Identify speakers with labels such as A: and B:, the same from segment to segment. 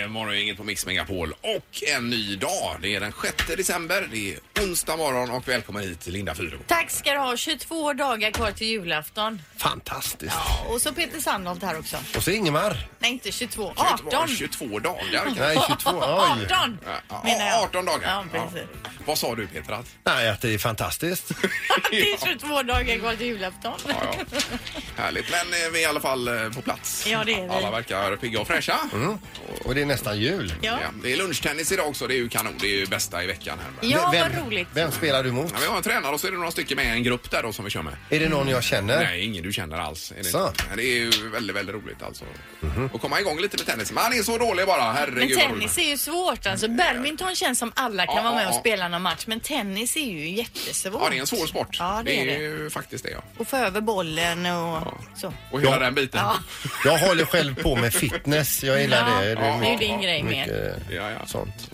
A: eh, morgongänget på Mix Megapol och en ny dag. Det är den 6 december, det är onsdag morgon och välkommen hit till Linda Fyrebo.
B: Tack ska du ha. 22 dagar kvar till julafton.
C: Fantastiskt.
B: Och så Peter Sandholt här också.
C: Och så Ingemar.
B: Nej, inte 22.
A: Det var
B: 18.
A: 22 dagar. kanske.
C: Nej, 22. Oj.
B: 18
A: Ja,
B: menar jag.
A: 18 dagar.
B: Ja, precis.
A: Ja. Vad sa du Peter? Att?
C: Nej, att det är fantastiskt.
B: Det är 22 dagar kvar till julafton.
A: Ja, ja. Härligt, men eh, vi är i alla fall eh, på plats.
B: Ja, det är vi. Mm.
A: Alla verkar pigga och fräscha.
C: Och det är nästan jul.
B: Ja,
A: Ja, det är lunchtennis idag också, det är ju kanon. Det är ju bästa i veckan här.
B: ja
C: V- vem,
B: vad roligt.
C: Vem spelar du mot?
A: Ja, vi har en tränare och så är det några stycken med i en grupp där då som vi kör med.
C: Är det någon jag känner?
A: Nej, ingen du känner alls. Är det,
C: Så. Mhm.
A: inte? Nej, det är ju väldigt, väldigt roligt alltså. Och komma igång lite med tennis. Men han är så dålig bara,
B: Men
A: herregud. vad roligt.
B: tennis är ju svårt. Alltså, badminton känns som alla kan
A: Ja,
B: vara med och
A: ja.
B: spela någon match. Men tennis är ju jättesvårt.
A: Ja, det är en svår sport.
B: Ja, det är det.
A: ju faktiskt det, ja.
B: Och få över bollen och så.
A: Och hela
C: Ja.
A: den biten.
B: Ja.
C: Jag håller själv på med fitness. Jag gillar
B: Ja,
C: det.
B: det är ju
C: mycket-
B: din grej med.
C: mycket
A: Ja, ja.
C: sånt.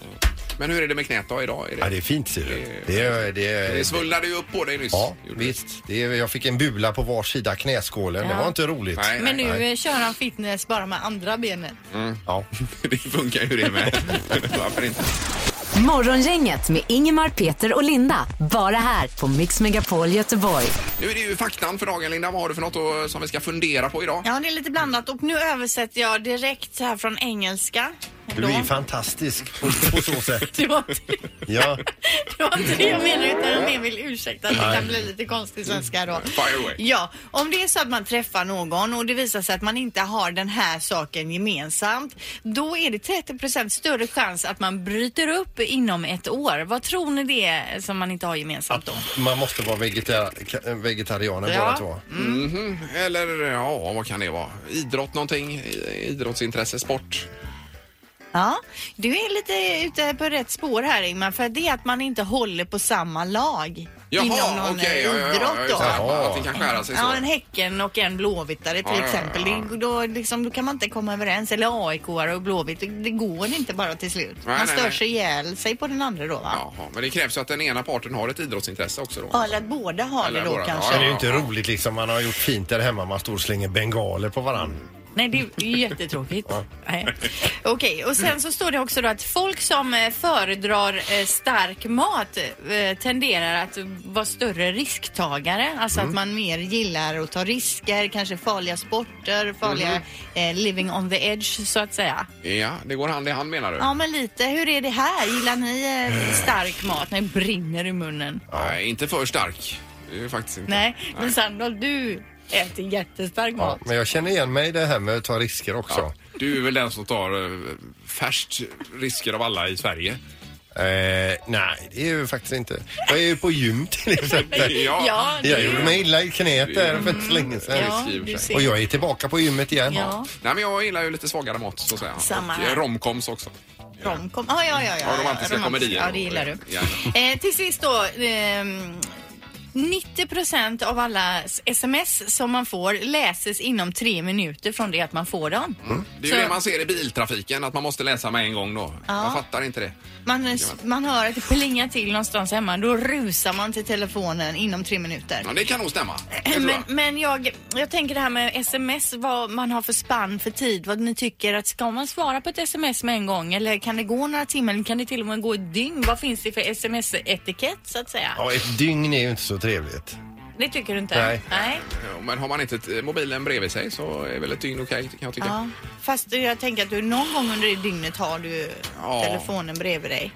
A: Men hur är det med knät då idag? Är det...
C: Ja, det är fint ser du. Det, är, det, är,
A: det svullnade ju upp på dig nyss.
C: Ja,
A: Gjorde det.
C: visst. Det är, jag fick en bula på var sida knäskålen. Det
B: Ja.
C: var inte roligt.
A: Nej,
B: Men
A: nej,
B: nu eh, kör han fitness bara med andra benet.
C: Ja.
A: Det funkar ju det med. Varför inte?
D: Morgongänget med Ingemar, Peter och Linda. Bara här på Mix Megapol Göteborg.
A: Nu är det ju faktan för dagen, Linda. Vad har du för något då, som vi ska fundera på idag?
B: Ja, det är lite blandat och nu översätter jag direkt här från engelska.
C: Du är fantastisk på, på så sätt.
B: Det var inte-
C: Ja.
B: det var inte det jag menade utan jag mer vill ursäkta att det kan bli lite konstig svenska då.
A: Fire away.
B: Ja, om det är så att man träffar någon och det visar sig att man inte har den här saken gemensamt, då är det 30 större chans att man bryter upp inom ett år. Vad tror ni det är som man inte har gemensamt då?
C: Man måste vara vegetar- vegetarianer
B: Ja.
C: båda två.
A: Mhm. Eller ja, vad kan det vara? Idrott någonting? I- Idrottsintresse, sport?
B: Ja, du är lite ute på rätt spår här Ingmar, för det är att man inte håller på samma lag
A: Jaha,
B: inom någon
A: okej,
B: eh,
A: ja, ja,
B: idrott
A: ja,
B: då.
A: ja, ja, Att det kan skära sig så.
B: Ja, en Häcken och en Blåvittare till
A: Ja, ja,
B: exempel.
A: ja, ja.
B: Det- Då, liksom, då kan man inte komma överens. Eller aik och Blåvitt. Det, det går inte bara till slut.
A: Nej,
B: man
A: nej,
B: stör
A: nej.
B: sig ihjäl sig på den andra då va?
A: Jaha, men det krävs ju att den ena parten har ett idrottsintresse också då.
B: Ja. Eller att båda har
A: Eller
B: det då
A: båda.
B: kanske.
C: Men det är ju inte roligt liksom. Man har gjort fint där hemma. Man står och slänger bengaler på varandra.
B: Nej, det är ju jättetråkigt. Nej. Okej, och sen så står det också då att folk som eh, föredrar eh, stark mat eh, tenderar att vara större risktagare. Alltså
C: Mm.
B: att man mer gillar att ta risker, kanske farliga sporter, farliga
C: Mm.
B: eh, living on the edge så att säga.
A: Ja, det går hand i hand menar du?
B: Ja, men lite. Hur är det här? Gillar ni eh, stark mat? Nej, brinner i munnen.
A: Nej, inte för stark. Det är ju faktiskt inte.
B: Nej, men Sandal, du äter jättestark
C: Ja,
B: mat.
C: men jag känner igen mig i det här med att ta risker också.
A: Ja. Du är väl den som tar eh, färst risker av alla i Sverige?
C: Eh, nej, det är ju faktiskt inte. Jag är ju på gym till exempel.
B: Ja, det-
C: Jag gjorde mig illa i knät där för inte så länge sedan.
B: Ja,
A: i och för
B: du
A: sig.
B: ser.
C: Och jag är tillbaka på gymmet igen.
B: Ja,
A: Nej, men jag gillar ju lite svagare mat så att säga.
B: Samma
A: Och,
B: här.
A: eh, romcoms också.
B: romcom. Ah, ja, ja, ja.
A: Ja, romantiska
B: romantisk.
A: komedier.
B: Ja, det gillar du.
A: Ja.
B: Eh, till sist då. ehm, 90 procent av alla s- sms som man får läses inom tre minuter från det att man får dem.
A: Det är
B: Så-
A: ju det man ser i biltrafiken, att man måste läsa med en gång då. Jag fattar inte det.
B: Man, man hör att det plingar till någonstans hemma. Då rusar man till telefonen inom tre minuter.
A: Ja, det kan nog stämma. Det tror jag.
B: Men, men jag, jag tänker det här med sms, vad man har för spann för tid. Vad ni tycker att ska man svara på ett sms med en gång eller kan det gå några timmar eller kan det till och med gå ett dygn? Vad finns det för sms-etikett så att säga?
C: Ja, ett dygn är ju inte så trevligt.
B: Det tycker du inte?
C: Nej.
A: Ja, Men har man inte t- mobilen bredvid sig så är väl ett dygn okej kan jag tycka.
B: Ja. Fast jag tänker att du någon gång under det dygnet har du
A: Ja.
B: telefonen bredvid dig.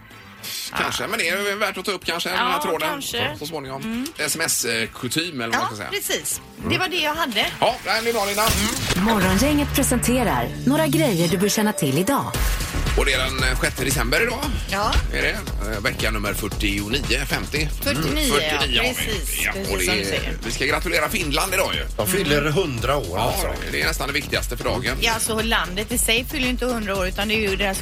A: Kanske, men det är värt att ta upp kanske den
B: Ja,
A: här tråden
B: kanske. Mm.
A: så småningom. Sms-kutym eller vad man
B: Ja,
A: ska säga.
B: precis. Mm. Det var det jag hade.
A: Ja, det här blir bra Linda.
D: Morgongänget presenterar några grejer du bör känna till idag.
A: Och det är den eh, 6 december idag.
B: Ja.
A: Är det? Eh, Vecka nummer 49, 50.
B: 49, ja,
A: 49 har vi.
B: precis.
A: Ja,
B: Precis
A: och det
B: som du
A: är-
B: säger.
A: Vi ska gratulera Finland idag ju.
C: De fyller
B: Mm.
C: hundra år alltså.
A: Ja, det är nästan det viktigaste för dagen.
B: Ja, alltså landet i sig fyller ju inte 100 år utan det är ju deras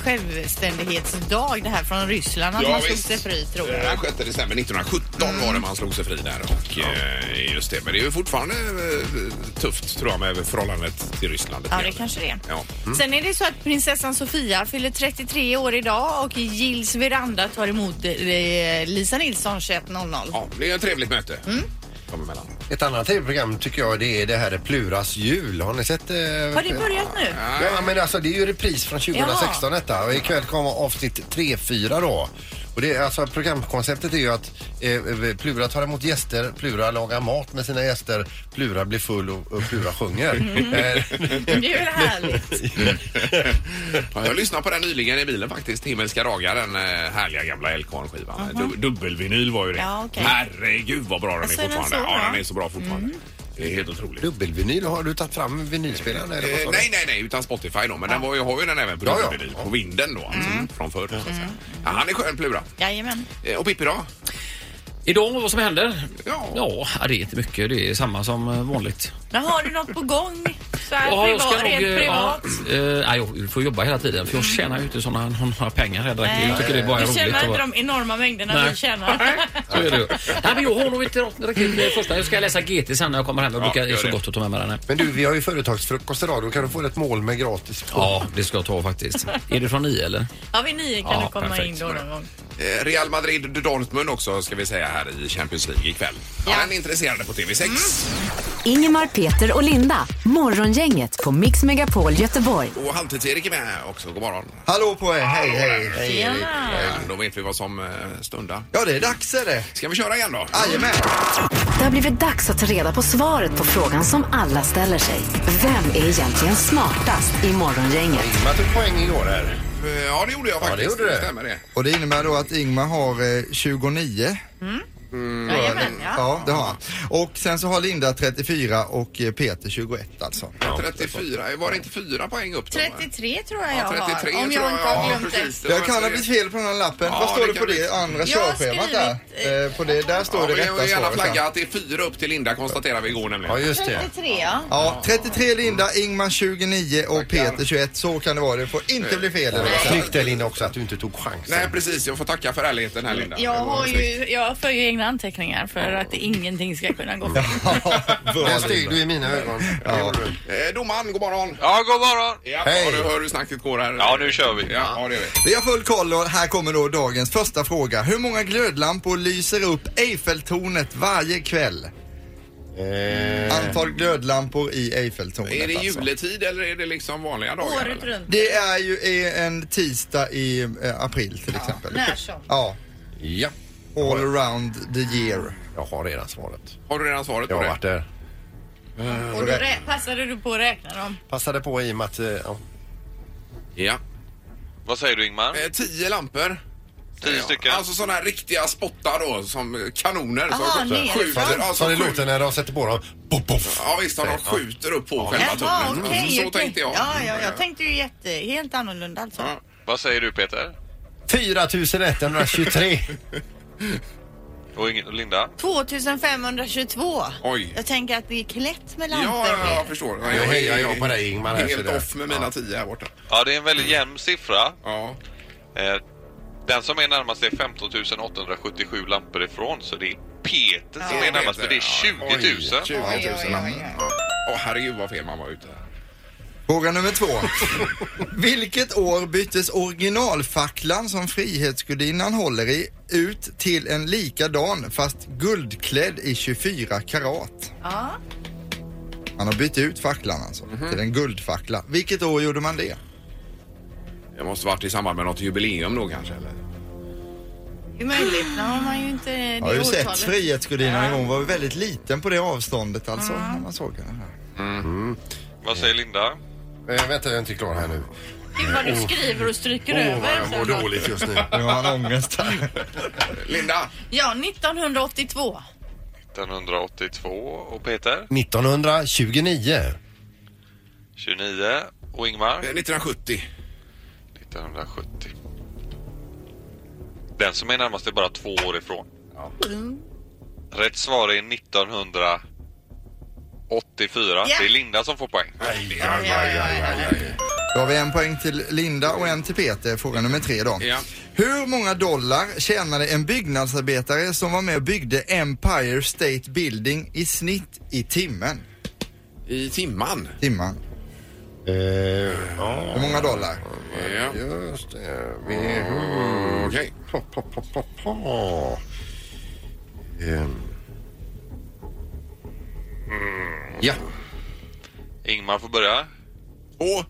B: självständighetsdag det här från Ryssland. Att
A: Ja,
B: man slog
A: visst.
B: sig fri tror jag. Mm.
A: Eh, 6 december 1917 var det man slog sig fri där. Och, eh, just det. Men det är ju fortfarande eh, tufft tror jag med förhållandet till Ryssland.
B: Ja, det kanske det är.
A: Ja.
B: Sen är det så att prinsessan Sofia fyller 33 år idag och Gills veranda tar emot eh, Lisa Nilsson 21.00. Mm.
A: Ja, det är ett trevligt möte. Kommer emellan.
C: Ett annat tv-program tycker jag det är det här Pluras jul. Har ni sett? Eh,
B: Har det börjat nu?
C: Ja, men alltså det är ju repris från 2016 detta och ikväll kommer avsnitt 3-4 då. Och det, är- alltså, programkonceptet är ju att eh, Plura tar emot gäster, Plura lagar mat med sina gäster, Plura blir full och, och Plura sjunger. Eh,
B: Det är väl härligt?
A: Ja, jag lyssnade på den nyligen i bilen faktiskt. Himmelska dagar, den eh, härliga gamla Elkvarn-skivan. Du- Dubbelvinyl var ju det.
B: Ja, okej.
A: Herregud vad bra den är
B: Alltså, är den
A: fortfarande.
B: så
A: ja,
B: bra? Mm.
A: den är så bra fortfarande. Det är helt otroligt.
C: Dubbelvinyl, har du tagit fram vinylspelaren? Eller vad sa
A: Eh,
C: du?
A: nej, nej, nej, utan Spotify då. Men den var ju, har ju den även på,
C: Ja, ja.
A: dubbelvinyl, på vinden då, alltså,
B: Mm.
A: från förr. Så att säga. Ja, han är skön, Plura.
B: Jajamän.
A: Eh, Och Pippi då?
E: Idag, vad som händer?
A: Ja.
E: ja, det är inte mycket. Det är samma som eh, vanligt.
B: Men har du något på gång? Så här
E: Ja,
B: Äh, privat, rent
E: eh,
B: privat?
E: ja, eh, nej, jag får jobba hela tiden för jag tjänar ju inte såna, några pengar här direkt. Jag tycker det är bara
B: du
E: roligt.
B: tjänar
E: att
B: inte
E: vara-
B: de enorma mängderna
E: Nej.
B: vi tjänar.
E: Så är det ju. Nej, men jag har nog inte något riktigt med första. Jag ska läsa GT sen när jag kommer hem. Jag
A: Ja,
E: brukar, det är
A: gör
E: så
A: det.
E: gott att ta med mig den här.
C: Men du, vi har ju företagsfrukost idag. Då kan du få ett mål med gratis på.
E: Ja, det ska jag ta faktiskt. Är det från nio eller?
B: Ja, vid nio kan
E: Ja,
B: du komma
E: perfekt.
B: in då någon gång.
A: Eh, Real Madrid Dortmund också ska vi säga här i Champions League ikväll. Ja. Den är intresserade på TV6.
D: Ingemar, Peter och Linda. Morgongänget på Mix Megapol Göteborg.
B: Mm.
A: Och Halvtids-Erik är med här också. God morgon.
F: Hallå på er, hej hej. hej, hej.
B: Tjena!
A: Eh, Då vet vi vad som eh, stundar.
F: Ja det är dags är det.
A: Ska vi köra igen då?
C: Ah.
F: Jajamän.
D: Det har blivit dags att ta reda på svaret på frågan som alla ställer sig. Vem är egentligen smartast i Morgongänget?
C: Ingmar tog poäng igår här.
A: Eh, Ja, det gjorde jag faktiskt.
C: gjorde det.
A: Stämmer det.
F: Och det innebär då att Ingmar har eh, 29.
B: Jajamän, ja.
F: Ja, det har han. Och sen så har Linda 34 och eh, Peter 21 alltså.
A: 34, var det inte fyra poäng upp då?
B: 33 tror jag jag
A: Ja,
B: har,
A: 33
B: om
A: tror
B: jag
A: jag
B: inte har
A: Ja,
B: glömt
A: precis.
B: det.
A: var
F: Jag kan ha
A: inte-
F: blivit fel på den här lappen.
A: Ja,
F: Vad står
A: det
F: det på
A: kan bli.
F: det andra
B: Jag har
F: körschemat där?
B: skrivit,
F: Eh, På det, där står
A: Ja,
F: det
A: men jag
F: rätta
A: vill gärna
F: svaret.
A: flagga
F: här.
A: att det är fyra upp till Linda konstaterade vi igår nämligen.
C: Ja, just det.
B: 33 ja.
F: Ja, 33 Linda, Ingmar 29 och
A: Tackar.
F: Peter 21. Så kan det vara. Det får inte bli fel.
A: Ja.
C: Snyggt där Linda också att du inte tog chansen.
A: Nej precis, jag får tacka för ärligheten här Linda.
B: Jag,
A: Det var
B: har ju,
A: snyggt.
B: jag för ju egna anteckningar för att ingenting ska kunna gå fel.
C: Där steg du i mina ögon. Ja.
A: Eh, domaren, god morgon!
G: Ja, god morgon.
A: Ja,
C: Hej.
A: och Du hör hur snacket går här.
G: Ja, nu kör vi.
A: Ja, ja det gör vi.
F: Vi har full koll och här kommer då dagens första fråga. Hur många glödlampor lyser upp Eiffeltornet varje kväll?
C: Eh,
F: Antal glödlampor i Eiffeltornet
A: Mm. Är det
F: alltså.
A: juletid eller är det liksom vanliga dagar?
B: Året
A: eller?
B: runt.
F: Det är ju i en tisdag i eh, april till exempel.
B: När som.
F: Ja,
C: ja,
F: all around the year.
C: jag har redan svaret.
A: Har du redan svaret
C: Jag har
A: på det?
C: varit där.
B: Och då rä- passade du på att räkna dem.
C: Passade på i och med att... eh, Ja.
A: Ja.
G: Vad säger du Ingmar?
A: Eh, tio lampor.
G: Tio
A: Ja.
G: stycken.
A: Alltså sådana här riktiga spottar då, som eh, kanoner.
B: Aha, nerifrån.
A: skjuter,
B: Som-
A: alltså,
C: Som det
A: skjuter-
C: låter när de sätter på dem. Poff, poff.
A: Ja visst, de skjuter upp på själva
B: Jaha,
A: tunneln.
B: okej.
A: alltså, mm, så
B: okej.
A: tänkte jag.
B: Ja, ja, jag tänkte ju jätte, helt annorlunda alltså.
A: Ja.
G: Vad säger du Peter?
C: 4123.
G: Och Inge- Linda?
B: 2522.
A: Oj.
B: Jag tänker att det är klätt med lampor.
A: Ja, ja, jag förstår. Nej,
C: Nu hejar jag på dig, Ingmar, här, så
A: Helt
C: där.
A: off med mina tio här borta.
G: Ja, det är en väldigt jämn siffra.
A: Ja.
G: Eh, Den som är närmast är 15 877 lampor ifrån, så det är Peter som
A: Ja,
G: är närmast,
A: Peter.
G: för det är 20 000.
A: 20 000
B: Oj, oj,
A: lampor.
B: oj,
A: Åh herregud vad fel man var ute.
F: Fråga nummer två. Vilket år byttes originalfacklan som Frihetsgudinnan håller i ut till en likadan fast guldklädd i 24 karat?
B: Ja. Mhm.
F: Man har bytt ut facklan alltså till en guldfackla. Vilket år gjorde man det?
A: Det måste varit i samband med något jubileum då kanske eller?
B: Det är möjligt. Nu har man ju inte det
F: Jag har ju sett
B: årtalet.
F: Frihetsgudinnan en gång. var väldigt liten på det avståndet alltså när man såg henne. här.
G: Vad säger Linda?
C: Eh, vänta, jag är inte klar här nu.
B: Gud vad du skriver och stryker
C: Åh, vad
B: över.
C: jag mår
B: sen då.
C: dåligt just nu.
F: Nu har han ångest här.
A: Linda!
B: Ja, 1982.
G: 1982 och Peter?
C: 1929.
G: 29 och Ingmar?
A: Eh, 1970.
G: 1970. Den som är närmast är bara två år ifrån. Rätt svar är 1984.
B: Ja.
G: Det är Linda som får poäng.
F: Då har vi en poäng till Linda och en till Peter. Fråga nummer tre då.
A: Ja.
F: Hur många dollar tjänade en byggnadsarbetare som var med och byggde Empire State Building i snitt i timmen?
A: I timman.
F: Timman.
C: Eh, ja,
F: Hur många dollar?
A: Ja.
C: just det. Vi... Mm.
A: Eh, Okej.
C: Pa, pa, pa, pa, pa. Ehm.
F: Ja.
G: Ingmar får börja.
A: Åh!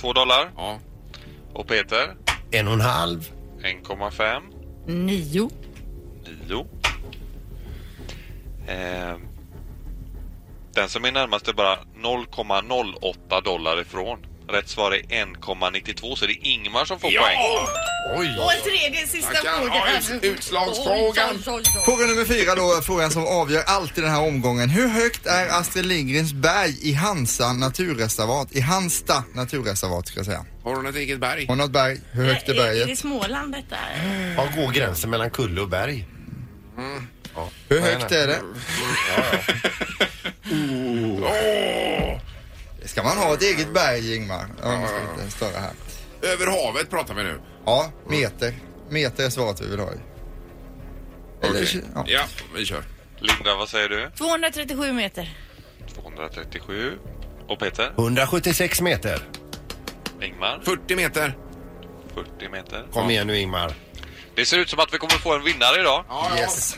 G: Två dollar.
A: Ja.
G: Och Peter?
C: En och en halv.
G: 1,5.
B: Nio.
G: 9. Eh, den som är närmast är bara 0,08 dollar ifrån. Rätt svar är 1,92 så det är Ingmar som får poäng.
A: Ja!
B: Och en tredje sista
A: Tackar.
B: fråga.
A: Ja, ut- utslagsfrågan.
B: Oj, oj, oj, oj.
F: Fråga nummer fyra då, frågan som avgör allt i den här omgången. Hur högt är Astrid Lindgrens berg i Hansa naturreservat? I Hansta naturreservat ska jag säga.
A: Har hon ett eget berg?
F: Har ni något berg? Hur högt är
B: Är det
F: berget?
B: Småland detta?
C: Var går gränsen mellan kulle och berg? Ja.
F: Hur högt är det? Oh.
A: Åh!
F: Ska man ha ett eget berg Ingmar? Ja, man ska inte störa här.
A: Över havet pratar vi nu.
F: Ja, meter. Meter är svaret vi vill ha. Eller,
A: Okej.
F: ja.
A: Ja, vi kör.
G: Linda, vad säger du?
B: 237 meter.
G: 237. Och Peter?
C: 176 meter.
G: Ingmar?
A: 40 meter.
G: 40 meter.
C: Kom igen nu Ingmar.
G: Det ser ut som att vi kommer få en vinnare idag.
A: Ja,
F: Yes.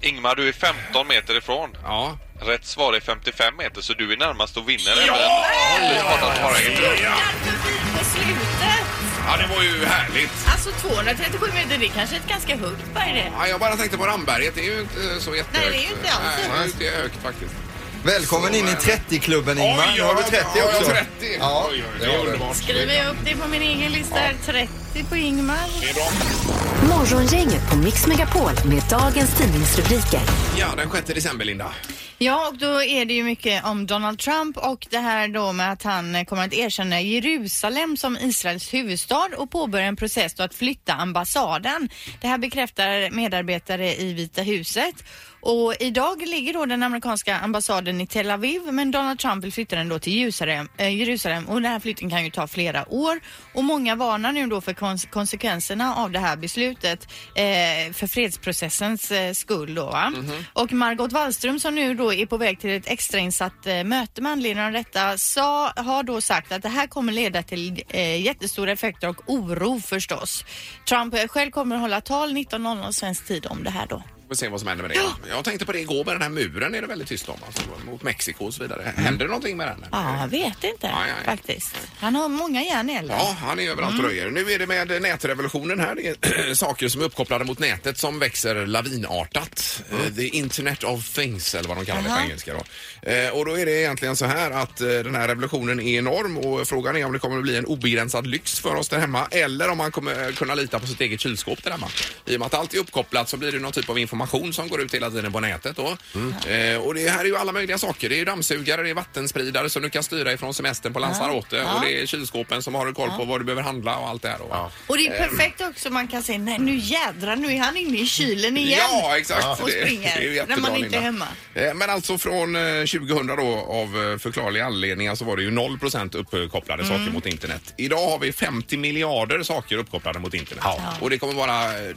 G: Ingmar, du är 15 meter ifrån.
A: Ja.
G: Rätt svar är 55 meter så du är närmast och vinner den. Men det är klart att bara en-
A: Ja.
B: Därför vi på slutet.
A: ja, det var ju härligt.
B: Alltså 237 meter, det är kanske är ett ganska högt berg det.
A: Ja, jag bara tänkte på Ramberget. Det är ju inte eh, så jättehögt.
B: Nej, det är ju inte alls
A: Nej, det är
B: högt.
A: inte högt faktiskt.
F: Välkommen in i 30-klubben Ingmar.
A: Oj,
F: Nu har du
A: ja,
F: 30
A: ja,
F: också.
A: Ja, 30.
F: Ja,
A: oj, oj,
F: det
A: det
F: var
A: är
F: det.
A: underbart.
B: Skriver jag upp det på min egen lista här, 30 på Ingmar.
A: Det är bra.
D: Morgongänget på Mix Megapol med dagens tidningsrubriker.
A: Ja, den 6 december, Linda.
B: Ja, och då är det ju mycket om Donald Trump och det här då med att han eh, kommer att erkänna Jerusalem som Israels huvudstad och påbörja en process då att flytta ambassaden. Det här bekräftar medarbetare i Vita huset. Och idag ligger då den amerikanska ambassaden i Tel Aviv men Donald Trump vill flytta den då till Jerusalem, eh, Jerusalem och den här flytten kan ju ta flera år. Och många varnar nu då för kons- konsekvenserna av det här beslutet eh, för fredsprocessens eh, skull då. Va? Och Margot Wallström som nu då är på väg till ett extrainsatt eh, möte med anledning av detta sa, har då sagt att det här kommer leda till eh, jättestora effekter och oro förstås. Trump eh, själv kommer att hålla tal 19.00 svensk tid om det här då.
A: Vi får se vad som händer med det. Jag tänkte på det igår med den här muren är det väldigt tyst om. Alltså, mot Mexiko och så vidare. Händer det någonting med den?
B: Ja, jag vet inte
A: Aj, aj.
B: faktiskt. Han har många järn i elden.
A: Ja, han är överallt och röjer. Nu är det med nätrevolutionen här. Det är saker som är uppkopplade mot nätet som växer lavinartat. Eh, The Internet of Things eller vad de kallar det på
B: Aha.
A: engelska. Då. Eh, Och då är det egentligen så här att eh, den här revolutionen är enorm och frågan är om det kommer att bli en obegränsad lyx för oss där hemma eller om man kommer eh, kunna lita på sitt eget kylskåp där hemma. I och med att allt är uppkopplat så blir det någon typ av information som går ut hela tiden på nätet då.
B: Mm.
A: Eh, Och det här är ju alla möjliga saker. Det är ju dammsugare, det är vattenspridare som du kan styra ifrån semestern på Lanzarote
B: Ja.
A: och det är kylskåpen som har koll på vad du behöver handla och allt det här då. va?
B: Och det är perfekt också, man kan säga nej nu jädrar nu är han inne i kylen igen.
A: Ja, exakt.
B: Och
A: Det-
B: springer
A: det är ju
B: när
A: jättebra,
B: man inte
A: Linda.
B: är hemma.
A: Eh, Men alltså från eh, 2000 då av eh, förklarliga anledningar så var det ju 0 uppkopplade saker
B: Mm.
A: mot internet. Idag har vi 50 miljarder saker uppkopplade mot internet. Och det kommer vara eh,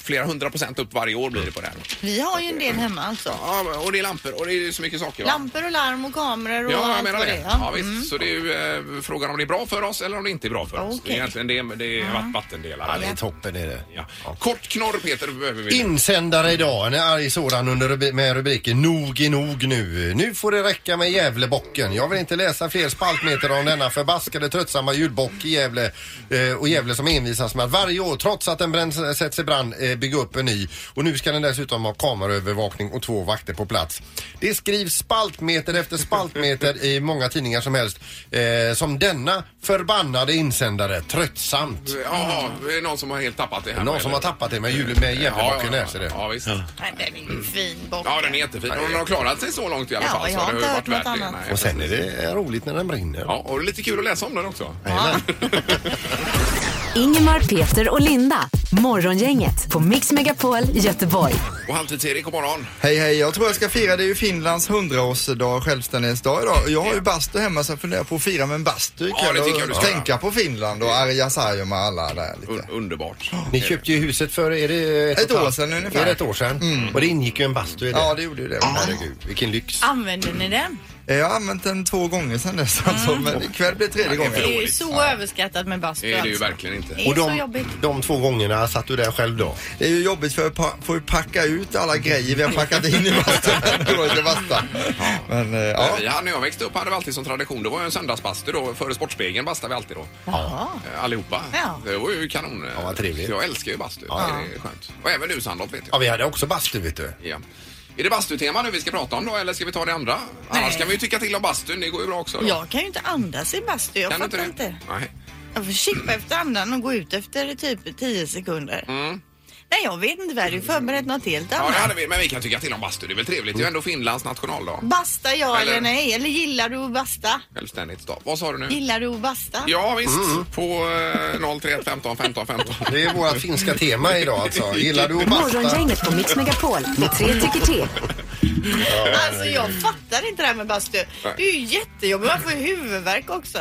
A: flera hundra procent upp varje år blir det på det här.
B: Vi har ju en del hemma alltså.
A: Ja, och det är lampor och det är ju så mycket saker va?
B: Lampor och larm och kameror och
A: Ja, jag
B: allt
A: menar
B: vad
A: det.
B: det är. Mm.
A: Ja, visst. Så det är ju eh, frågan om det är bra för oss eller om det inte är bra för oss. Det
B: Okej.
A: är egentligen det, det är vatt- vattendelare.
C: Ja, det är toppen är det.
A: Ja. Kort knorr Peter behöver vi.
C: Insändare idag, en arg sådan under rubri- med rubriken Nog är nog nu. Nu får det räcka med Gävlebocken. Jag vill inte läsa fler spaltmeter om denna förbaskade tröttsamma julbock i Gävle eh, och Gävle som envisas med att varje år, trots att den bränns, sätts i brand, eh, bygga upp en ny. Och nu ska den dessutom ha kameraövervakning och två vakter på plats. Det skrivs spaltmeter efter spaltmeter i många tidningar som helst eh, som denna förbannade insändare. Tröttsamt.
A: Jaha, det är någon som har helt tappat det här.
C: Någon som har tappat det med jul med Gävlebocken
A: ja,
C: här ser det.
A: ja, visst.
B: Nej, den är ju fin bock.
A: Ja, den är jättefin. Hon har klarat sig så långt i alla
B: Ja,
A: fall.
B: jag
A: så
B: har
A: det
B: inte
A: ju
B: hört något
A: varit värt det.
B: annat.
A: Nej.
C: Och sen är det roligt när den brinner.
A: Ja, och det är lite kul att läsa om den också.
B: Ja.
D: Ingemar, Peter och Linda. Morgongänget på Mix Megapol Göteborg.
A: Och Halvtids-Erik, god morgon.
F: Hej hej, jag tror jag ska fira, det är ju Finlands 100-årsdag, självständighetsdag idag. Jag har ju bastu hemma så jag funderar på att fira med en bastu
A: Ja, det
F: ikväll
A: tycker jag du
F: och
A: ska
F: tänka på Finland och Arja Saijonmaa och alla där
A: Un
F: lite.
A: underbart.
C: Ni köpte ju huset för, är det
F: Ett år
C: och halvt-
F: sedan ungefär. Mm.
C: Är det ett år sedan? Och det ingick ju en bastu i det.
F: Ja, det gjorde ju det.
C: Herregud, vilken lyx.
B: Använder ni den?
F: Eh, Jag har använt den två gånger sedan dess alltså, men ikväll blir tredje
A: Mm. Ja,
F: gången.
A: det är för
B: Det är ju
A: dåligt.
B: så överskattat med bastu.
A: Det är det ju
B: alltså.
A: verkligen inte.
B: Det är
C: Och
B: så
C: de,
B: jobbigt.
C: de två gångerna satt du där själv då?
F: Det är ju jobbigt för jag pa- får ju packa ut alla grejer vi har packat in i bastun. Det går inte att basta. Men eh, ja.
A: Ja. När jag växte upp hade vi alltid som tradition, det var ju en söndagsbastu då, före Sportspegeln bastade vi alltid då.
B: Jaha.
A: Eh, Allihopa.
B: Ja.
A: Det var ju kanon.
C: Ja, vad trevligt.
A: Så Jag älskar ju bastu. Det är skönt. Och även du Sandholt vet jag.
C: Ja, vi hade också bastu vet du.
A: Ja. Är det bastutema nu vi ska prata om då eller ska vi ta det andra? Annars kan vi ju tycka till om bastun, det går ju bra också. Då.
B: Jag kan ju inte andas i bastu. Jag
A: Kan du
B: fattar
A: det?
B: inte.
A: Nej.
B: Jag får chippa efter andan och gå ut efter typ 10 sekunder. Nej, jag vet inte. Vi hade ju förberett något helt
A: Mm. Ja, det
B: annat.
A: hade vi, men vi kan tycka till om bastu. Det är väl trevligt. Det är ju ändå Finlands nationaldag.
B: Bastar jag eller,
A: Eller-
B: nej? Eller gillar du att basta?
A: Självständigt dag. Vad sa du nu?
B: Gillar du att basta?
A: Ja, visst.
B: Mm.
A: På eh, 031 15 15 15.
C: Det är vårt finska tema idag alltså. Gillar du att basta?
D: Morgongänget på Mix Megapol med tre tycker till.
B: Alltså jag fattar inte det här med bastu. Det är ju jättejobbigt. Man får ju huvudvärk också.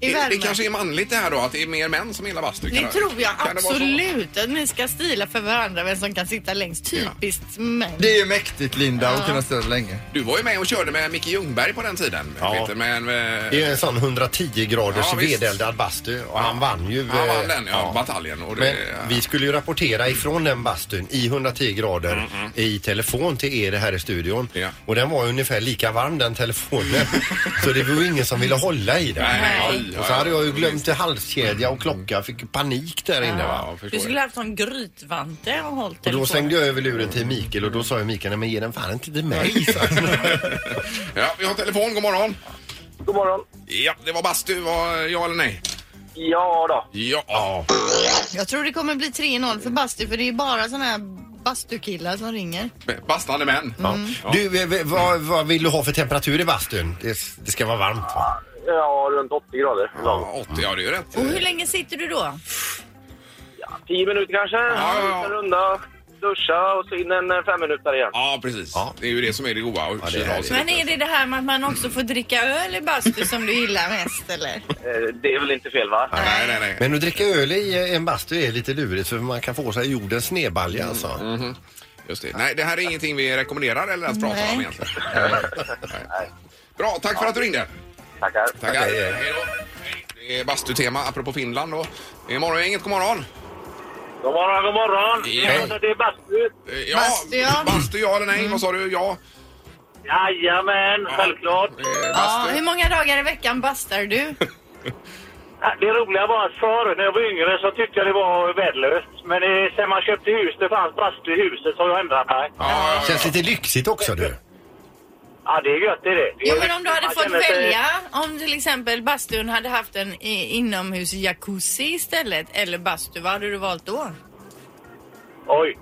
B: I
A: Det, det
B: värmen.
A: kanske är manligt det här då, att det är mer män som gillar bastu? Kan
B: Det tror jag
A: kan det vara så?
B: absolut. Att ni ska stila för varandra vem som kan sitta längst. Typiskt män.
F: Det är mäktigt Linda att kunna ställa länge.
A: Du var ju med och körde med Micke Ljungberg på den tiden.
C: Ja.
A: Peter, men,
C: Det är en sån 110 graders
A: Ja, visst.
C: vedeldad bastu och han vann ju.
A: han
C: eh,
A: vann den, ja, bataljen. Och det,
C: Men vi skulle ju rapportera ifrån den bastun i 110 grader i telefon till er här i studion.
A: Mm, Ja.
C: Och den var ungefär lika varm den telefonen. så det var ju ingen som ville hålla i den.
A: Nej,
C: Ja.
A: oj,
C: och så
A: ja,
C: hade
A: ja.
C: jag ju glömt halskedja och klocka. Fick panik där inne va.
A: ja,
B: Du
A: förstår
B: skulle
A: jag.
B: haft sån grytvante och hållit
C: Och då
B: telefonen.
C: slängde jag över luren till Mikael och då sa ju Mikael, "Nej, men ge den fan inte till mig. sa han.
A: ja, vi har telefon, god morgon.
H: God morgon.
A: Ja, det var bastu, var ja eller nej?
H: Ja då.
A: Ja. ja.
B: Jag tror det kommer bli 3-0 för bastu för det är bara såna här bastukillar som ringer.
A: Bastande
C: Mm.
A: män. Ja.
C: Du, eh, v- vad, vad vill du ha för temperatur i bastun? Det, det ska vara varmt va?
H: Ja, runt 80 grader.
A: Ja, 80, ja det är ju rätt.
B: Och
C: Mm.
B: hur länge sitter du då?
H: 10 minuter kanske.
A: ja, ja.
H: En runda, duscha och så in en eh, fem minuter igen.
A: Ja, precis. Det är ju det som är det goa. Och
C: det är
A: kyla och så
B: Men
A: vidare.
B: är det det här med att man också får dricka öl i bastu som du gillar mest eller?
H: Eh, Det är väl inte fel va?
A: Nej, nej, nej.
C: Men att dricka öl i eh, en bastu är lite lurigt för man kan få sig jordens snedbalja alltså.
A: Mm. Just det. Nej, det här är ingenting vi rekommenderar eller ens pratar om
B: Nej.
A: egentligen. Nej. Bra, tack för att du ringde.
H: Tackar.
A: Tackar.
C: Tack, hej, hej.
A: Hej då. Det är bastutema apropå Finland då. Det är Morgongänget, god morgon.
H: God morgon, god morgon.
A: Hej. Mm.
H: Ja, Det är bastu.
A: Eh, Ja,
B: Bastu, ja.
A: Bastu, ja eller nej? Vad sa du? Ja.
H: Jajamän, självklart.
A: Eh,
B: Ja,
A: bastu.
B: hur många dagar i veckan bastar du?
H: Det roliga var att förr när jag var yngre så tyckte jag det var värdelöst. Men eh, sen man köpte hus, det fanns bastu i huset, så har jag ändrat mig.
A: Ja, ja,
C: Känns lite lyxigt också du.
H: Ja, det är gött det är det.
B: Jo men om du hade
H: Man
B: fått
H: känner sig-
B: välja om till exempel bastun hade haft en i- inomhus jacuzzi istället eller bastu, vad hade du valt då?
H: Oj.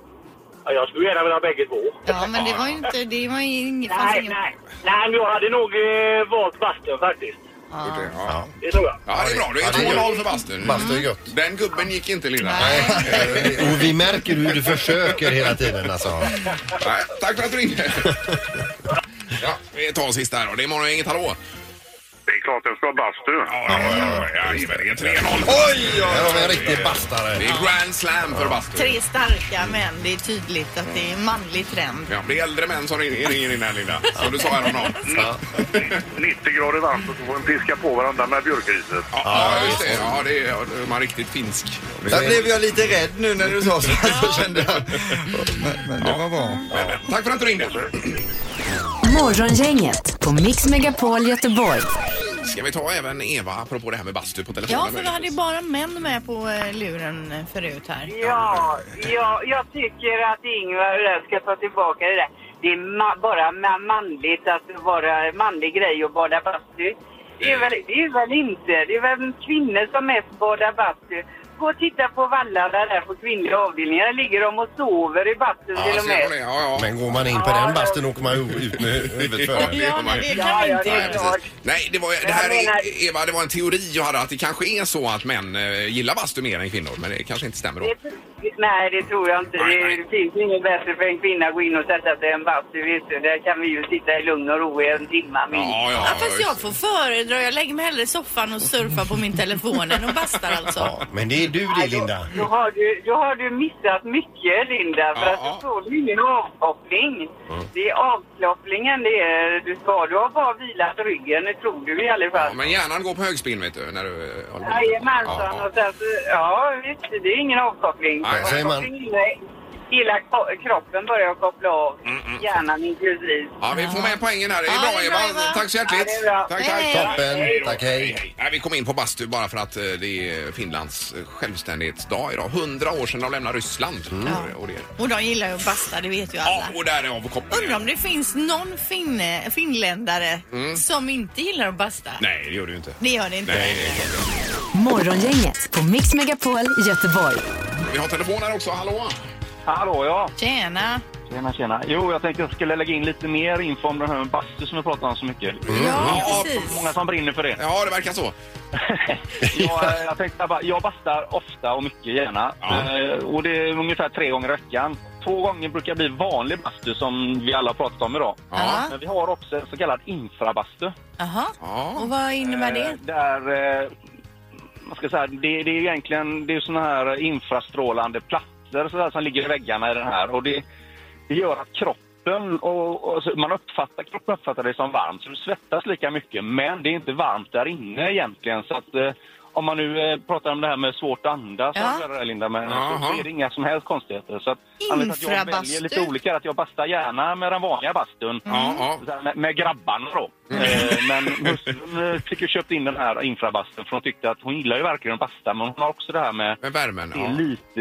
H: Ja, jag skulle gärna vilja ha bägge två.
B: Ja men det var ju inte, det var ju inget, fanns
H: Nej,
B: inget.
H: nej. Nej, men jag hade nog eh, valt bastun faktiskt.
A: ja. Gjort det, ja.
H: Det tror jag.
A: ja, det är bra. Det
C: Ja, det
A: är
C: är
A: 2-0 för bastun.
C: Bastu är gott.
A: Den gubben gick inte, Linda.
B: Nej.
C: Och vi märker hur du försöker hela tiden alltså.
A: Nej, Tack för att du ringde. Ja, vi tar en sista här då. Det är Morgongänget, hallå.
I: Det är klart jag ska ha bastu.
A: Ja, ja, ja, ja, ja, det är 3-0.
F: Oj, oj,
C: Här har vi en riktig bastare.
A: Det är grand slam för bastu.
B: Tre starka män, det är tydligt att det är en manlig trend.
A: Ja, det är äldre män som ringer ringer in här, Linda. Som du sa häromdagen. Ja,
I: 90 grader varmt och så får man piska på varandra med björkriset.
A: ja, just det. Ja, det är, ja, då är man riktigt finsk.
F: Där blev jag lite rädd nu när du sa så. Så kände jag. Men, men det var bra.
A: Men, Tack för att du ringde.
D: Morgongänget på Mix Megapol Göteborg.
A: Ska vi ta även Eva apropå det här med bastu på telefonen?
B: Ja, för vi hade ju
A: möjligtvis?
B: bara män med på eh, luren eh, förut här.
J: Ja, ja, jag tycker att Ingvar där ska ta tillbaka det där. Det är ma- bara ma- manligt att vara manlig grej och bada bastu. Det är, väl, det är väl inte. Det är väl kvinnor som mest badar bastu. Gå och titta på vallarna där på kvinnliga avdelningen. Där ligger de och sover i bastun till
A: Ja,
J: och
A: ser du det?
J: med.
A: Ja, ja.
C: Men går man in på den bastun åker man ju ut med huvudet före.
A: Ja,
B: Ja,
A: men
B: men det
A: det
J: Ja,
B: kan vi
J: ja,
B: inte.
J: det
A: Nej,
J: är
A: precis.
J: klart.
A: Nej, det, var, det
J: Jag
A: här
J: menar-
A: är, Eva, det var en teori jag hade att det kanske är så att män eh, gillar bastu mer än kvinnor, men det kanske inte stämmer då.
J: Det, Nej, det tror jag inte. Det, det finns inget bättre för en kvinna att gå in och sätta sig i en bastu, vet du. Där kan vi ju sitta i lugn och ro i en timme minst.
B: Ja, fast jag får föredra. Jag lägger mig hellre i soffan och surfar på min telefon än och bastar alltså.
C: Men det är du det, Linda.
J: Då har, du, då har du missat mycket, Linda, för
C: Ja.
J: att då får du ingen avkoppling.
A: Mm.
J: Det är avkopplingen det är, du ska. Du har bara vilat ryggen, det tror du i alla fall.
A: Men hjärnan går på högspinn vet du. När du eh, håller på.
J: Jajamensan, och sen så, ja visst, det är ingen avkoppling.
A: Nej, säger man.
J: Avkoppling är- Hela ko- kroppen börjar koppla av, hjärnan inklusive.
A: Ja, vi får med poängen här. Det är bra Eva. Tack så hjärtligt.
J: Ja, det är bra.
A: Tack, tack.
J: Hej, hej. Hej då.
A: hej. Nej, vi kom in på bastu bara för att eh, det är Finlands eh, självständighetsdag idag. Hundra år sedan de lämnade Ryssland. Och, och det.
B: Och de gillar ju att basta, det vet ju Mm. alla.
A: Och där är avkopplingen.
B: Undrar om det finns någon finne, finländare
A: Mm.
B: som inte gillar att basta.
A: Nej, det gör du inte.
B: Det gör det inte.
A: Nej, det gör du inte.
D: Morgongänget på Mix Megapol Göteborg.
A: Vi har telefon här också. Hallå?
K: Hallå, ja.
B: Tjena.
K: Tjena, tjena. Jo, jag tänkte jag skulle lägga in lite mer info om den här med bastu som vi pratar om så mycket.
A: Mm. Ja,
K: precis. Många som brinner för det.
A: Ja, det verkar så.
K: jag, eh, jag, tänkte, bara- jag bastar ofta och mycket gärna. Eh, Och det är ungefär tre gånger i veckan. Två gånger brukar bli vanlig bastu som vi alla har pratat om idag. Men vi har också en så kallad infrabastu.
B: Jaha, och vad innebär
K: Eh,
B: det?
K: Där, eh, man ska säga, det, det är ju egentligen det är såna här infrastrålande platser så där, som ligger i väggarna i den här. Och det, det gör att kroppen, och, och, så man uppfattar, kroppen uppfattar det som varmt, så du svettas lika mycket. Men det är inte varmt där inne egentligen. Så att, eh, om man nu eh, pratar om det här med svårt att andas,
B: Ja.
K: ja. Linda, men,
B: Jaha.
K: så, så är det inga som helst konstigheter. Så att, anledningen till att jag väljer
B: Infrabastu.
K: lite olika är att jag bastar gärna med den vanliga bastun. Så här, Med, med grabbarna då.
A: Mm.
K: Eh, Men hustrun eh, fick ju köpt in den här infrabastun för hon tyckte att hon gillar ju verkligen att basta men hon har också det här med,
A: med värmen.
K: Det är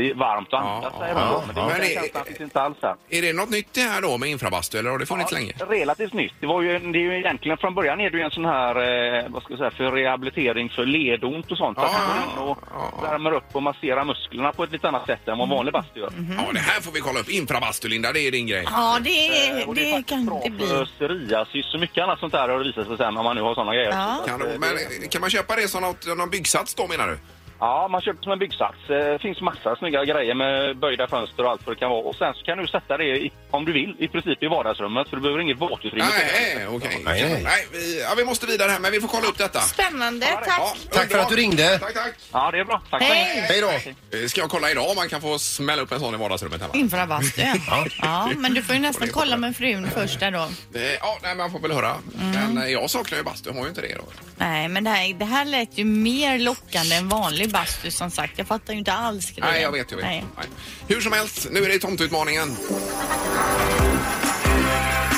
K: lite varmt att andas säger hon då. Men det
A: ja.
K: är
A: Men
K: den
A: är-
K: känslan finns inte alls här.
A: Är det något nytt det här då med infrabastu eller har det funnits länge?
K: Relativt nytt. Det, var ju, det är ju egentligen från början är det ju en sån här, eh, vad ska jag säga, för rehabilitering för ledont och sånt. Att man går in och värmer upp och masserar musklerna på ett lite annat sätt än vad vanlig bastu gör.
A: Ja, det här får vi kolla upp. Infrabastu, Linda, det är din grej.
B: Ja, det,
A: eh,
B: är, det, kan det
K: För
B: bli.
K: psoriasis och mycket annat sånt där har det visat sig sen om man nu har såna grejer.
B: Ja.
K: Så att,
A: Kan,
K: eh,
A: du,
K: det-
A: men, kan man köpa det som något, någon byggsats då menar du?
K: Ja, man köper som en byggsats. Eh, Det finns massa snygga grejer med böjda fönster och allt vad det kan vara. Och sen så kan du sätta det, i, om du vill, i princip i vardagsrummet för du behöver inget våtutrymme.
A: Nej, okej. Nej, vi, ja, vi måste vidare här men vi får kolla upp detta.
B: Spännande, tack.
C: Tack för att du ringde.
A: Tack, tack.
K: Ja, det är bra. Tack.
B: Hej.
C: Hej då.
A: Eh, Ska jag kolla idag om man kan få smälla upp en sån i vardagsrummet hemma?
B: Infrabastu.
A: Ja.
B: Ja, men du får ju nästan kolla med frun först där då.
A: Eh, Ja, nej, man får väl höra. Men eh, jag saknar ju bastu, har ju inte det då.
B: Nej, men det här, det här lät ju mer lockande än vanlig bastu som sagt. Jag fattar ju inte alls grejen.
A: Nej, jag vet, jag vet.
B: Nej.
A: Nej. Hur som helst, nu är det tomteutmaningen.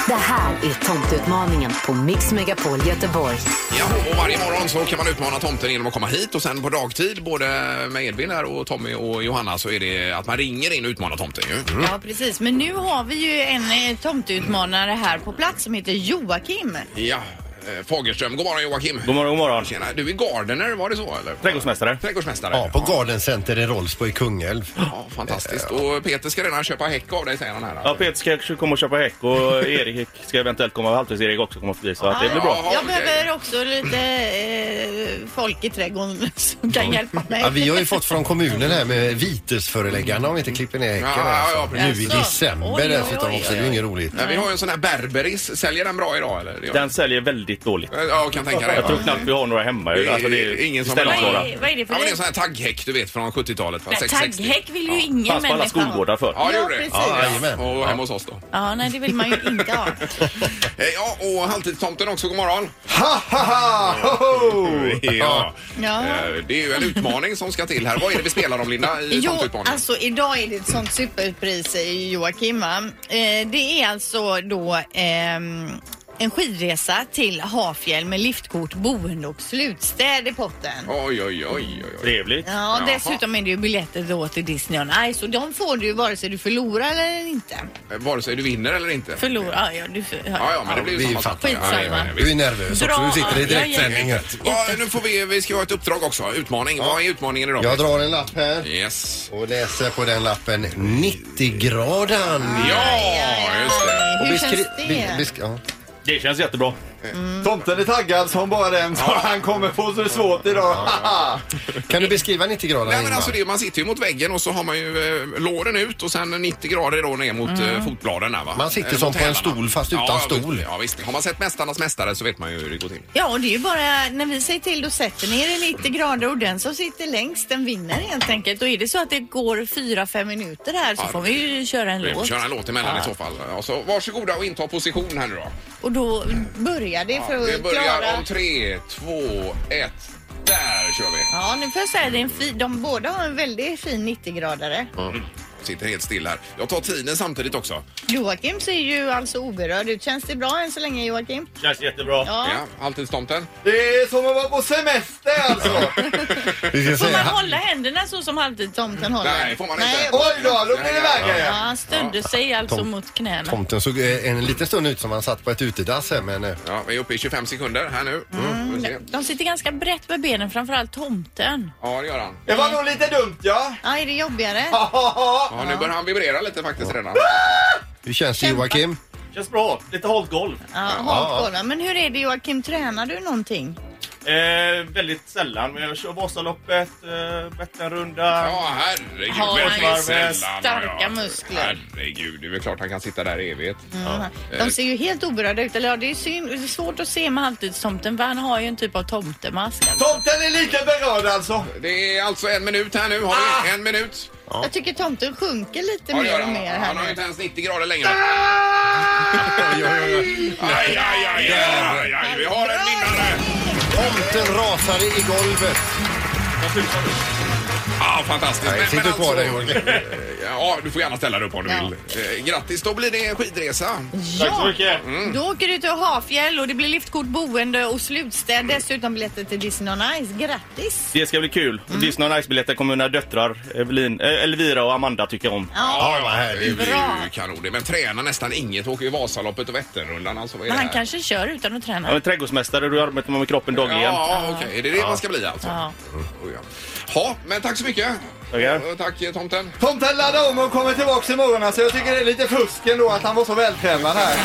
D: Det här är tomteutmaningen på Mix Megapol Göteborg.
A: Ja, och varje morgon så kan man utmana tomten genom att komma hit och sen på dagtid, både med Edvin här och Tommy och Johanna, så är det att man ringer in och utmanar tomten ju.
L: Mm.
B: Ja, precis. Men nu har vi ju en eh, tomteutmanare här på plats som heter Joakim.
A: Ja, eh, Fagerström. God morgon Joakim.
L: God morgon, god morgon.
A: Tjena. Du är gardener, var det så eller?
L: Trädgårdsmästare.
A: Trädgårdsmästare.
C: Ja, på Garden Center i Rolfsborg i Kungälv.
A: Ja, fantastiskt. Och Peter ska redan köpa häck av dig säger han här.
L: Ja, Peter ska komma och köpa häck och Erik ska eventuellt komma, halvtids-Erik också komma förbi så att det blir bra.
B: Jag behöver också lite eh, folk i trädgården som kan hjälpa mig.
C: Ja, vi har ju fått från kommunen här med vitesföreläggande om vi inte klipper ner häcken.
A: Ja, ja,
C: alltså.
A: ja,
C: nu i
A: precis. Oj,
C: december
A: oj,
C: dessutom
A: oj,
C: också.
A: oj.
C: Det är ju inget roligt.
A: Ja, vi har ju en sån här Berberis. Säljer den bra idag eller? Det gör
L: Den säljer väldigt dåligt.
A: Ja, kan tänka dig.
L: Jag tror knappt vi har några hemma.
A: Det är
L: Alltså, det är
A: ingen som
L: beställningsvara.
B: Vad är- vad är det för
A: ja, men det är
B: lek?
A: en sån här tagghäck du vet från 70-talet. va?
B: Nej,
A: 660.
B: Tagghäck vill ju ingen
L: Fanns på alla
B: människa ha.
L: skolgårdar förr.
A: Ja, det gjorde det.
B: precis.
A: Ja, och hemma hos oss då.
B: Ja, nej, det vill man ju inte ha.
A: Eh, Ja, och halvtidstomten också. God morgon.
C: Ha, ha, ha!
A: Ja.
B: Ja.
A: Eh, Det är ju en utmaning som ska till här. Vad är det vi spelar om Linda i
B: Jo,
A: tomteutmaningen?
B: alltså idag är det ett sånt superpris eh, Joakim va? Eh, Det är alltså då ehm, en skidresa till Hafjäll med liftkort, boende och slutstäd i potten.
A: Oj, oj, oj, oj, oj.
L: Trevligt.
B: Ja, dessutom är det ju biljetter då till Disney on Ice och de får du ju vare sig du förlorar eller inte.
A: Eh, Vare sig du vinner eller inte.
B: Förlorar, ja du för,
A: Ja, ja, men det blir ju samma sak.
B: Skitsamma.
A: Ja, ja, ja,
C: Du är nervös också. Du sitter i
A: Ja, ja, ja.
C: direktsändning.
A: Ja, nu får vi, vi ska ha ett uppdrag också. Utmaning. Vad är utmaningen idag?
C: Jag drar en lapp här.
A: Yes.
C: Och läser på den lappen 90-gradan.
A: Ja, just det.
C: Och
L: Hur känns
C: beskri-
L: det?
C: be- besk- ja.
L: Det känns jättebra.
F: Tomten är taggad som bara den så han kommer få det svårt idag.
C: kan du beskriva 90 grader?
A: Nej, men alltså det, man sitter ju mot väggen och så har man ju eh, låren ut och sen 90 grader då ner mot
C: Mm.
A: eh, fotbladen. Där, va?
C: Man sitter
A: Eh,
C: som
A: mot
C: på en
A: hälarna.
C: stol, fast utan
A: ja, ja,
C: stol.
A: visst. Ja, visst. Har man sett Mästarnas mästare så vet man ju hur det går till.
B: Ja, och det är ju bara när vi säger till då sätter ni er i 90 grader och den som sitter längst den vinner helt enkelt. Och är det så att det går 4-5 minuter här så
A: Ja,
B: får vi ju köra en
A: Vi får
B: låt.
A: köra en låt emellan i så fall. Ja, så varsågoda och inta position här nu då.
B: Och då börjar det för
A: Ja, vi
B: att
A: börjar
B: klara.
A: om tre, två, ett. Där kör vi.
B: Ja, nu får jag säga det är en fi... de båda har en väldigt fin 90-gradare.
A: Sitter helt still här. Jag tar tiden samtidigt också.
B: Joakim ser ju alltså oberörd ut. Känns det bra än så länge Joakim?
A: Känns jättebra.
B: Ja.
A: Ja. Halvtidstomten.
F: Det är som att vara på semester alltså.
B: Får man hålla händerna så som alltid tomten håller?
A: Nej, får man inte.
F: Oj då, då blir det värre.
B: Ja, han stödde sig alltså
C: Tom-
B: mot knäna.
C: Tomten såg eh, en liten stund ut som han satt på ett utedass här, men... eh,
A: Ja, vi är uppe i 25 sekunder här nu. Mm.
B: De- De sitter ganska brett med benen, framförallt tomten.
A: Ja, det gör han.
F: Det var nog lite dumt ja.
B: Ja, är det jobbigare?
A: Ah. Ja, nu börjar han vibrera lite faktiskt redan.
C: Hur känns det Joakim?
L: Känns bra. Lite halt golv.
B: Ja, hårt kolla. Men hur är det Joakim, tränar du någonting?
L: Eh, väldigt sällan, men jag kör Vasaloppet, eh, Vätternrunda.
A: Ja, herregud.
B: Har
A: väldigt
B: han
A: sällan,
B: starka
A: ja, ja.
B: muskler?
A: Herregud, det är väl klart han kan sitta där i evighet.
B: Mm.
A: Eh,
B: De ser ju helt oberörda ut. Eller ja, det är, synd, det är svårt att se med halvtidstomten för han har ju en typ av tomtemask.
F: Tomten är lika berörd alltså.
A: Det är alltså en minut här nu. Har vi en minut?
B: Jag tycker tomten sjunker lite
A: Ja, det gör
B: Ah! mer och
A: han.
B: mer här
A: Han har ju
B: nu. Ah!
A: inte ens 90 grader längre. Aj, aj, aj, aj, aj, aj. Vi har en vinnare!
C: Tomten rasade i golvet.
A: Ja, fantastiskt.
C: Nej,
A: Men- alltså-
C: sitt
A: men
C: upp på dig, Jörgen.
A: eh, Ja, du får gärna ställa dig upp om du vill. Eh, Grattis, då blir det skidresa.
B: Ja. Tack så mycket. Då åker du till Hafjäll och det blir liftkort, boende och slutstäd. Dessutom biljetter till Disney on Ice. Grattis!
L: Det ska bli kul.
A: Mm.
L: Disney on Ice-biljetter kommer mina döttrar Evelin, eh, Elvira och Amanda tycka om.
A: Ja, vad härligt. Det
B: Bra.
A: är ju kanon det. Men tränar nästan inget. Åker ju Vasaloppet och Vätternrundan. Alltså, vad är
B: Men
A: det
B: han
A: här?
B: kanske kör utan att träna.
L: Jag är trädgårdsmästare, då arbetar man med kroppen dagligen.
A: Ja, okej. Är det det
L: Ja.
A: man ska bli alltså?
B: Ja.
A: Oj, ja. Ja, men tack så mycket.
L: Tackar.
A: Och Tack eh, tomten.
F: Tomten laddar om och kommer tillbaks imorgon alltså. Jag tycker det är lite fusk ändå att han var så vältränad här.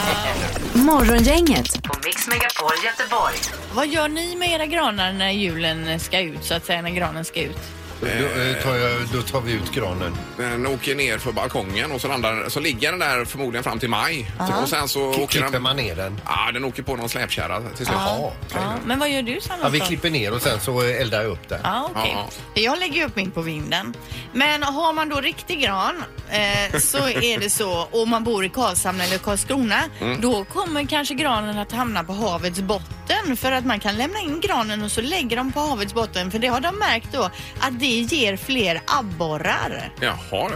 D: Morgongänget
F: På Mix Megapol Göteborg.
B: Vad gör ni med era granar när julen ska ut, så att säga, när granen ska ut?
C: Då, eh, tar jag, då tar vi ut granen.
A: Den åker ner för balkongen och så, landar, så ligger den där förmodligen fram till maj.
B: Ja.
A: Och sen så
C: K-
A: åker
C: klipper
A: den...
C: man ner den?
A: Ja, den åker på någon släpkärra till slut.
C: Ja.
B: Ja, men vad gör du Sanna?
C: Ja, vi klipper ner och sen så eh, eldar jag upp den.
B: Ja, okej. Jag lägger upp min på vinden. Men har man då riktig gran eh, så är det så, och man bor i Karlshamn eller Karlskrona,
M: Mm.
B: då kommer kanske granen att hamna på havets botten för att man kan lämna in granen och så lägger de på havets botten för det har de märkt då att det ger fler abborrar.
A: Jaha du.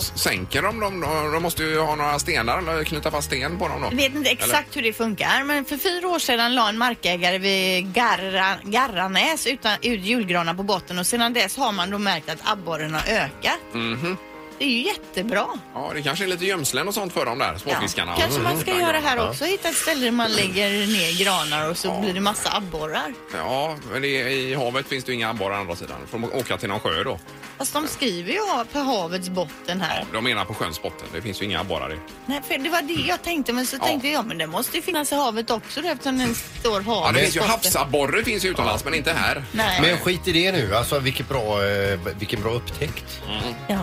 A: S- Sänker de dem? då? De måste ju ha några stenar eller knyta fast sten på dem då.
B: Jag vet inte exakt hur det funkar men för fyra år sedan la en markägare vid Garra, Garranäs utan, ut julgranar på botten och sedan dess har man då märkt att abborren har ökat.
A: Eller? Mhm.
B: Det är ju jättebra.
A: Ja, det kanske är lite gömslen och sånt för dem där, småfiskarna.
B: Kanske man ska
A: Mm.
B: göra här
A: Ja.
B: också. Hitta ett ställe där man lägger ner granar och så blir det massa abborrar.
A: Ja, men det, i havet finns det ju inga abborrar å andra sidan. Får de åka till någon sjö då?
B: Fast de skriver ju ha- på havets botten här.
A: De menar på sjöns botten. Det finns ju inga abborrar i.
B: Nej, för det var det jag tänkte, men så
A: Ja.
B: tänkte jag men det måste ju finnas i havet också då, eftersom den står
A: Ja, det
B: havets
A: finns ju
B: botten.
A: havsabborre finns ju utomlands, men inte här.
B: Nej.
C: Men skit i det nu. Alltså, vilket bra, eh, vilken bra upptäckt.
B: Ja.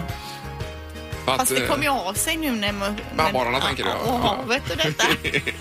A: För att,
B: Fast det
A: eh,
B: kommer ju av sig nu när man...
A: Med abborrarna tänker du?
B: Ja, och
A: Ja.
B: havet och detta.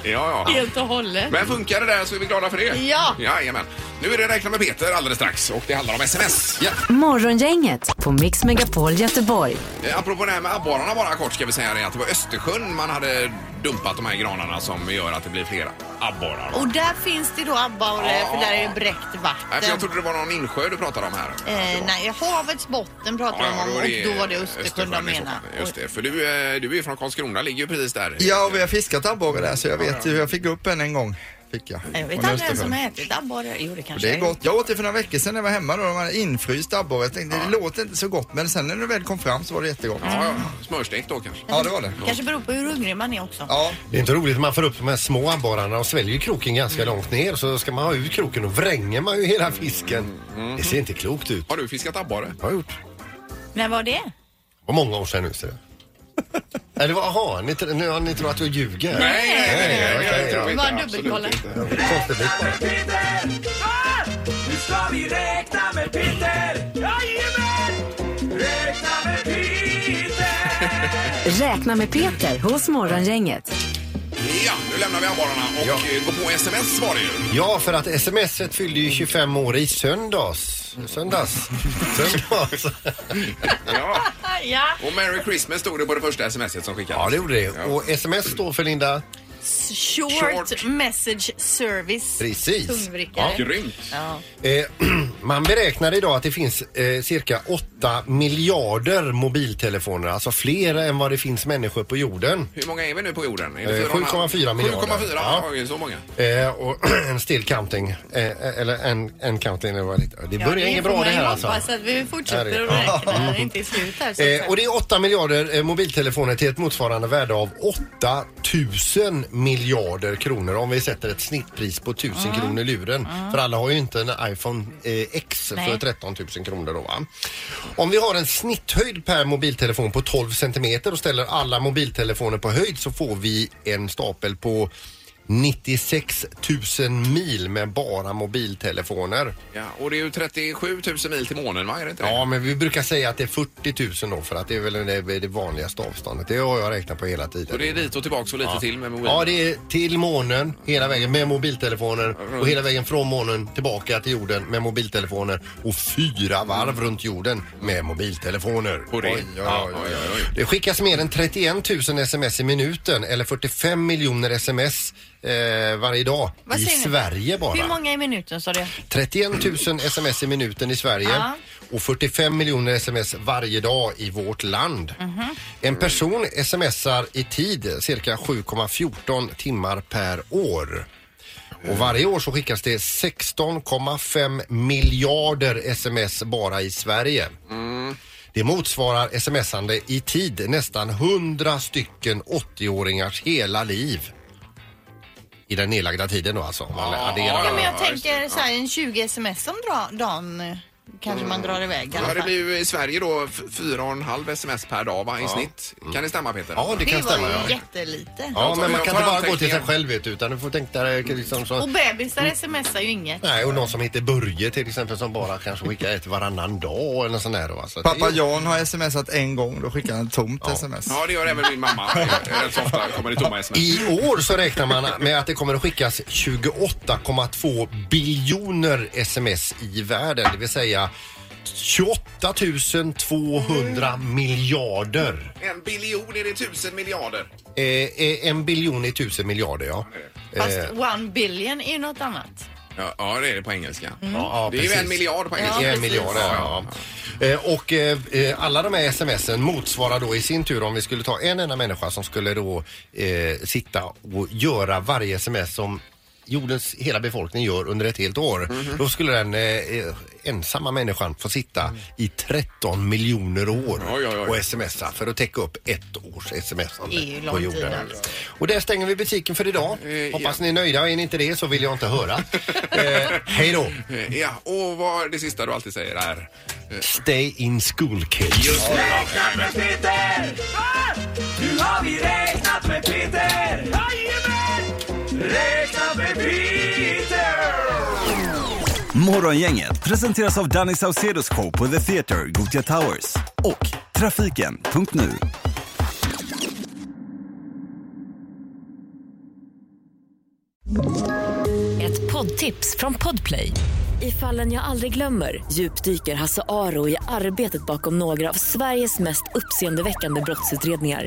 A: ja, ja.
B: Helt och hållet.
A: Men funkar det där så är vi glada för det.
B: Ja.
A: Jajamän. Nu är det Räkna med Peter alldeles strax och det handlar om sms. Ja.
D: Morgongänget på Mix Megapol Göteborg.
A: Eh, Apropå det här med abborrarna bara kort ska vi säga det att det var Östersjön man hade dumpat de här granarna som gör att det blir fler abborrar.
B: Och där finns det då abborre,
A: Ja.
B: för där är det bräckt vatten.
A: Nej, för jag trodde det var någon insjö du pratade om här.
B: Eh, nej, havets botten pratar de om och då var det Östersjön de
A: i
B: menade.
A: så fall. Just det, för du, eh, du är från Karlskrona, ligger ju precis där.
F: Ja, och vi har fiskat abborre där så jag vet ju hur jag fick upp en en gång. Fick jag.
B: Jag vet aldrig
F: Från
B: vem som
F: Östersjön.
B: har ätit abborre. Jo, det kanske
F: Det är gott. Jag åt det för några veckor sedan när jag var hemma då. De hade infryst abborre. Jag tänkte det låter inte så gott men sen när det väl kom fram så var det jättegott.
A: Ja, ja. Smörstekt då kanske?
F: Ja, det var det.
B: kanske beror på hur hungrig man är också.
F: Ja.
C: Det är inte roligt att man får upp de här små abborrarna och sväljer ju kroken ganska långt ner. Så ska man ha ut kroken och vränger man ju hela fisken. Det ser inte klokt ut.
A: Har du fiskat abborre?
C: Jag har gjort.
B: När var det?
C: Det var många år sedan nu ser det. Nej, det var, aha, ni, tr- nu har ni trott att jag ljuger.
A: Nej, nej, nej, nej,
C: okej,
A: jag tror
C: ja.
B: Vi bara dubbelkollar.
M: Nu ska vi räkna med Peter! Jajamän! Räkna med Peter!
D: Räkna med Peter hos Morgongänget.
A: Ja, nu lämnar vi abborrarna och eh, går på sms var det ju.
C: Ja, för att smset fyllde ju 25 år i söndags. Söndags. Söndags.
A: Ja.
B: ja.
A: Och Merry Christmas stod det på det första smset som skickades.
C: Ja, det gjorde det. Och sms står för Linda?
B: Short, message service.
C: Precis.
B: Tungvrickare.
C: Ja. Grymt. Eh, man beräknar idag att det finns eh, cirka 8 miljarder mobiltelefoner, alltså fler än vad det finns människor på jorden.
A: Hur många är vi nu på jorden? Är det
C: Eh,
A: fyra och en halv?
C: 7,4 miljarder.
A: 7,4?
C: Ja.
A: Ja. oj, så många.
C: Eh, och en still counting, eh, eller en, en counting. eller vad Det det
B: Ja,
C: börjar inget
B: får
C: bra
B: man
C: det
B: ju
C: här alltså.
B: hoppas att vi fortsätter
C: Herregud.
B: att räkna när det inte är slut här. så att
C: Eh,
B: säga.
C: och det är 8 miljarder eh, mobiltelefoner till ett motsvarande värde av 8 000 miljarder kronor om vi sätter ett snittpris på 1000 kronor luren. För alla har ju inte en iPhone eh, X för
N: Nej.
C: 13 000 kronor då va. Om vi har en snitthöjd per mobiltelefon på 12 centimeter och ställer alla mobiltelefoner på höjd så får vi en stapel på 96 000 mil med bara mobiltelefoner.
A: Ja, och det är ju 37 000 mil till månen, va? Är det inte det?
C: Ja, men vi brukar säga att det är 40 000 då för att det är väl det, det vanligaste avståndet. Det har jag räknat på hela tiden.
A: Så det är dit och tillbaks och lite till med mobilen?
C: Ja, det är till månen hela vägen med mobiltelefoner
A: Mm.
C: och hela vägen från månen tillbaka till jorden med mobiltelefoner och fyra varv runt jorden med mobiltelefoner.
A: det. Ja, oj, oj,
C: Det skickas mer än 31 000 sms i minuten eller 45 miljoner sms eh, varje dag
B: Vad
C: i
B: säger ni?
C: Sverige bara.
B: Hur många i minuten sa du?
C: 31 000 sms i minuten i Sverige
B: Ja.
C: och 45 miljoner sms varje dag i vårt land. En person smsar i tid cirka 7,14 timmar per år. Och varje år så skickas det 16,5 miljarder sms bara i Sverige. Det motsvarar smsande i tid nästan 100 stycken 80-åringars hela liv. I den nedlagda tiden då alltså. Om man adderar
B: Ja, men jag
C: alla.
B: tänker så här en 20 sms om dra- dagen eh, kanske man drar iväg i alla
A: Ja, det
B: fall.
A: blir ju i Sverige då f- fyra och en halv sms per dag va, i snitt. Kan det stämma Peter?
C: Ja, det kan Det var stämma, ju ja.
B: Jättelite.
C: Ja, men man kan inte bara gå till sig
A: anteckningar.
C: själv vet, du, utan du får tänka dig liksom
B: Och
C: så.
B: bebisar smsar ju inget.
C: Nej, och någon som heter Börje till exempel som bara kanske skickar ett varannan dag eller sån där då. Alltså,
F: Pappa Jan har smsat en gång, då skickar han ett tomt sms.
A: Ja, det gör även min mamma. Det är Rätt så ofta kommer det tomma sms.
C: I år så räknar man med att det kommer att skickas 28,2 biljoner sms i världen, det vill säga 28 200 miljarder.
A: En biljon är det tusen miljarder.
C: Eh, eh, en biljon är tusen miljarder, ja. Eh,
B: Fast one billion är ju något annat.
A: Ja, ja, det är det på engelska.
B: Mm.
C: Ja,
A: det är ju
C: precis.
A: en miljard på
C: Det
A: engelska.
C: är en miljard, ja. Eh, Och eh, eh, alla de här sms'en motsvarar då i sin tur om vi skulle ta en enda människa som skulle då eh, sitta och göra varje sms som jordens hela befolkning gör under ett helt år.
B: Mhm.
C: Då skulle den eh, eh, ensamma människan få sitta i 13 miljoner år och smsa för att täcka upp ett års sms
B: Det är ju
C: på
B: lång tid
C: jorden.
B: alltså. Eh,
C: Och där stänger vi butiken för idag. Hoppas ni är nöjda. Är ni inte det så vill jag inte höra. eh, hej då!
A: Eh, Ja, och vad det sista du alltid säger är?
C: Stay in school kids.
A: Just det.
M: Räkna med Peter! Ah! Nu har vi räknat med Peter! Jajamän! Räkna med Peter!
O: Morgongänget presenteras av Danny Saucedos show på The Theatre, Gothia Towers och Trafiken.nu.
P: Ett poddtips från Podplay. I fallen jag aldrig glömmer djupdyker Hasse Aro i arbetet bakom några av Sveriges mest uppseendeväckande brottsutredningar.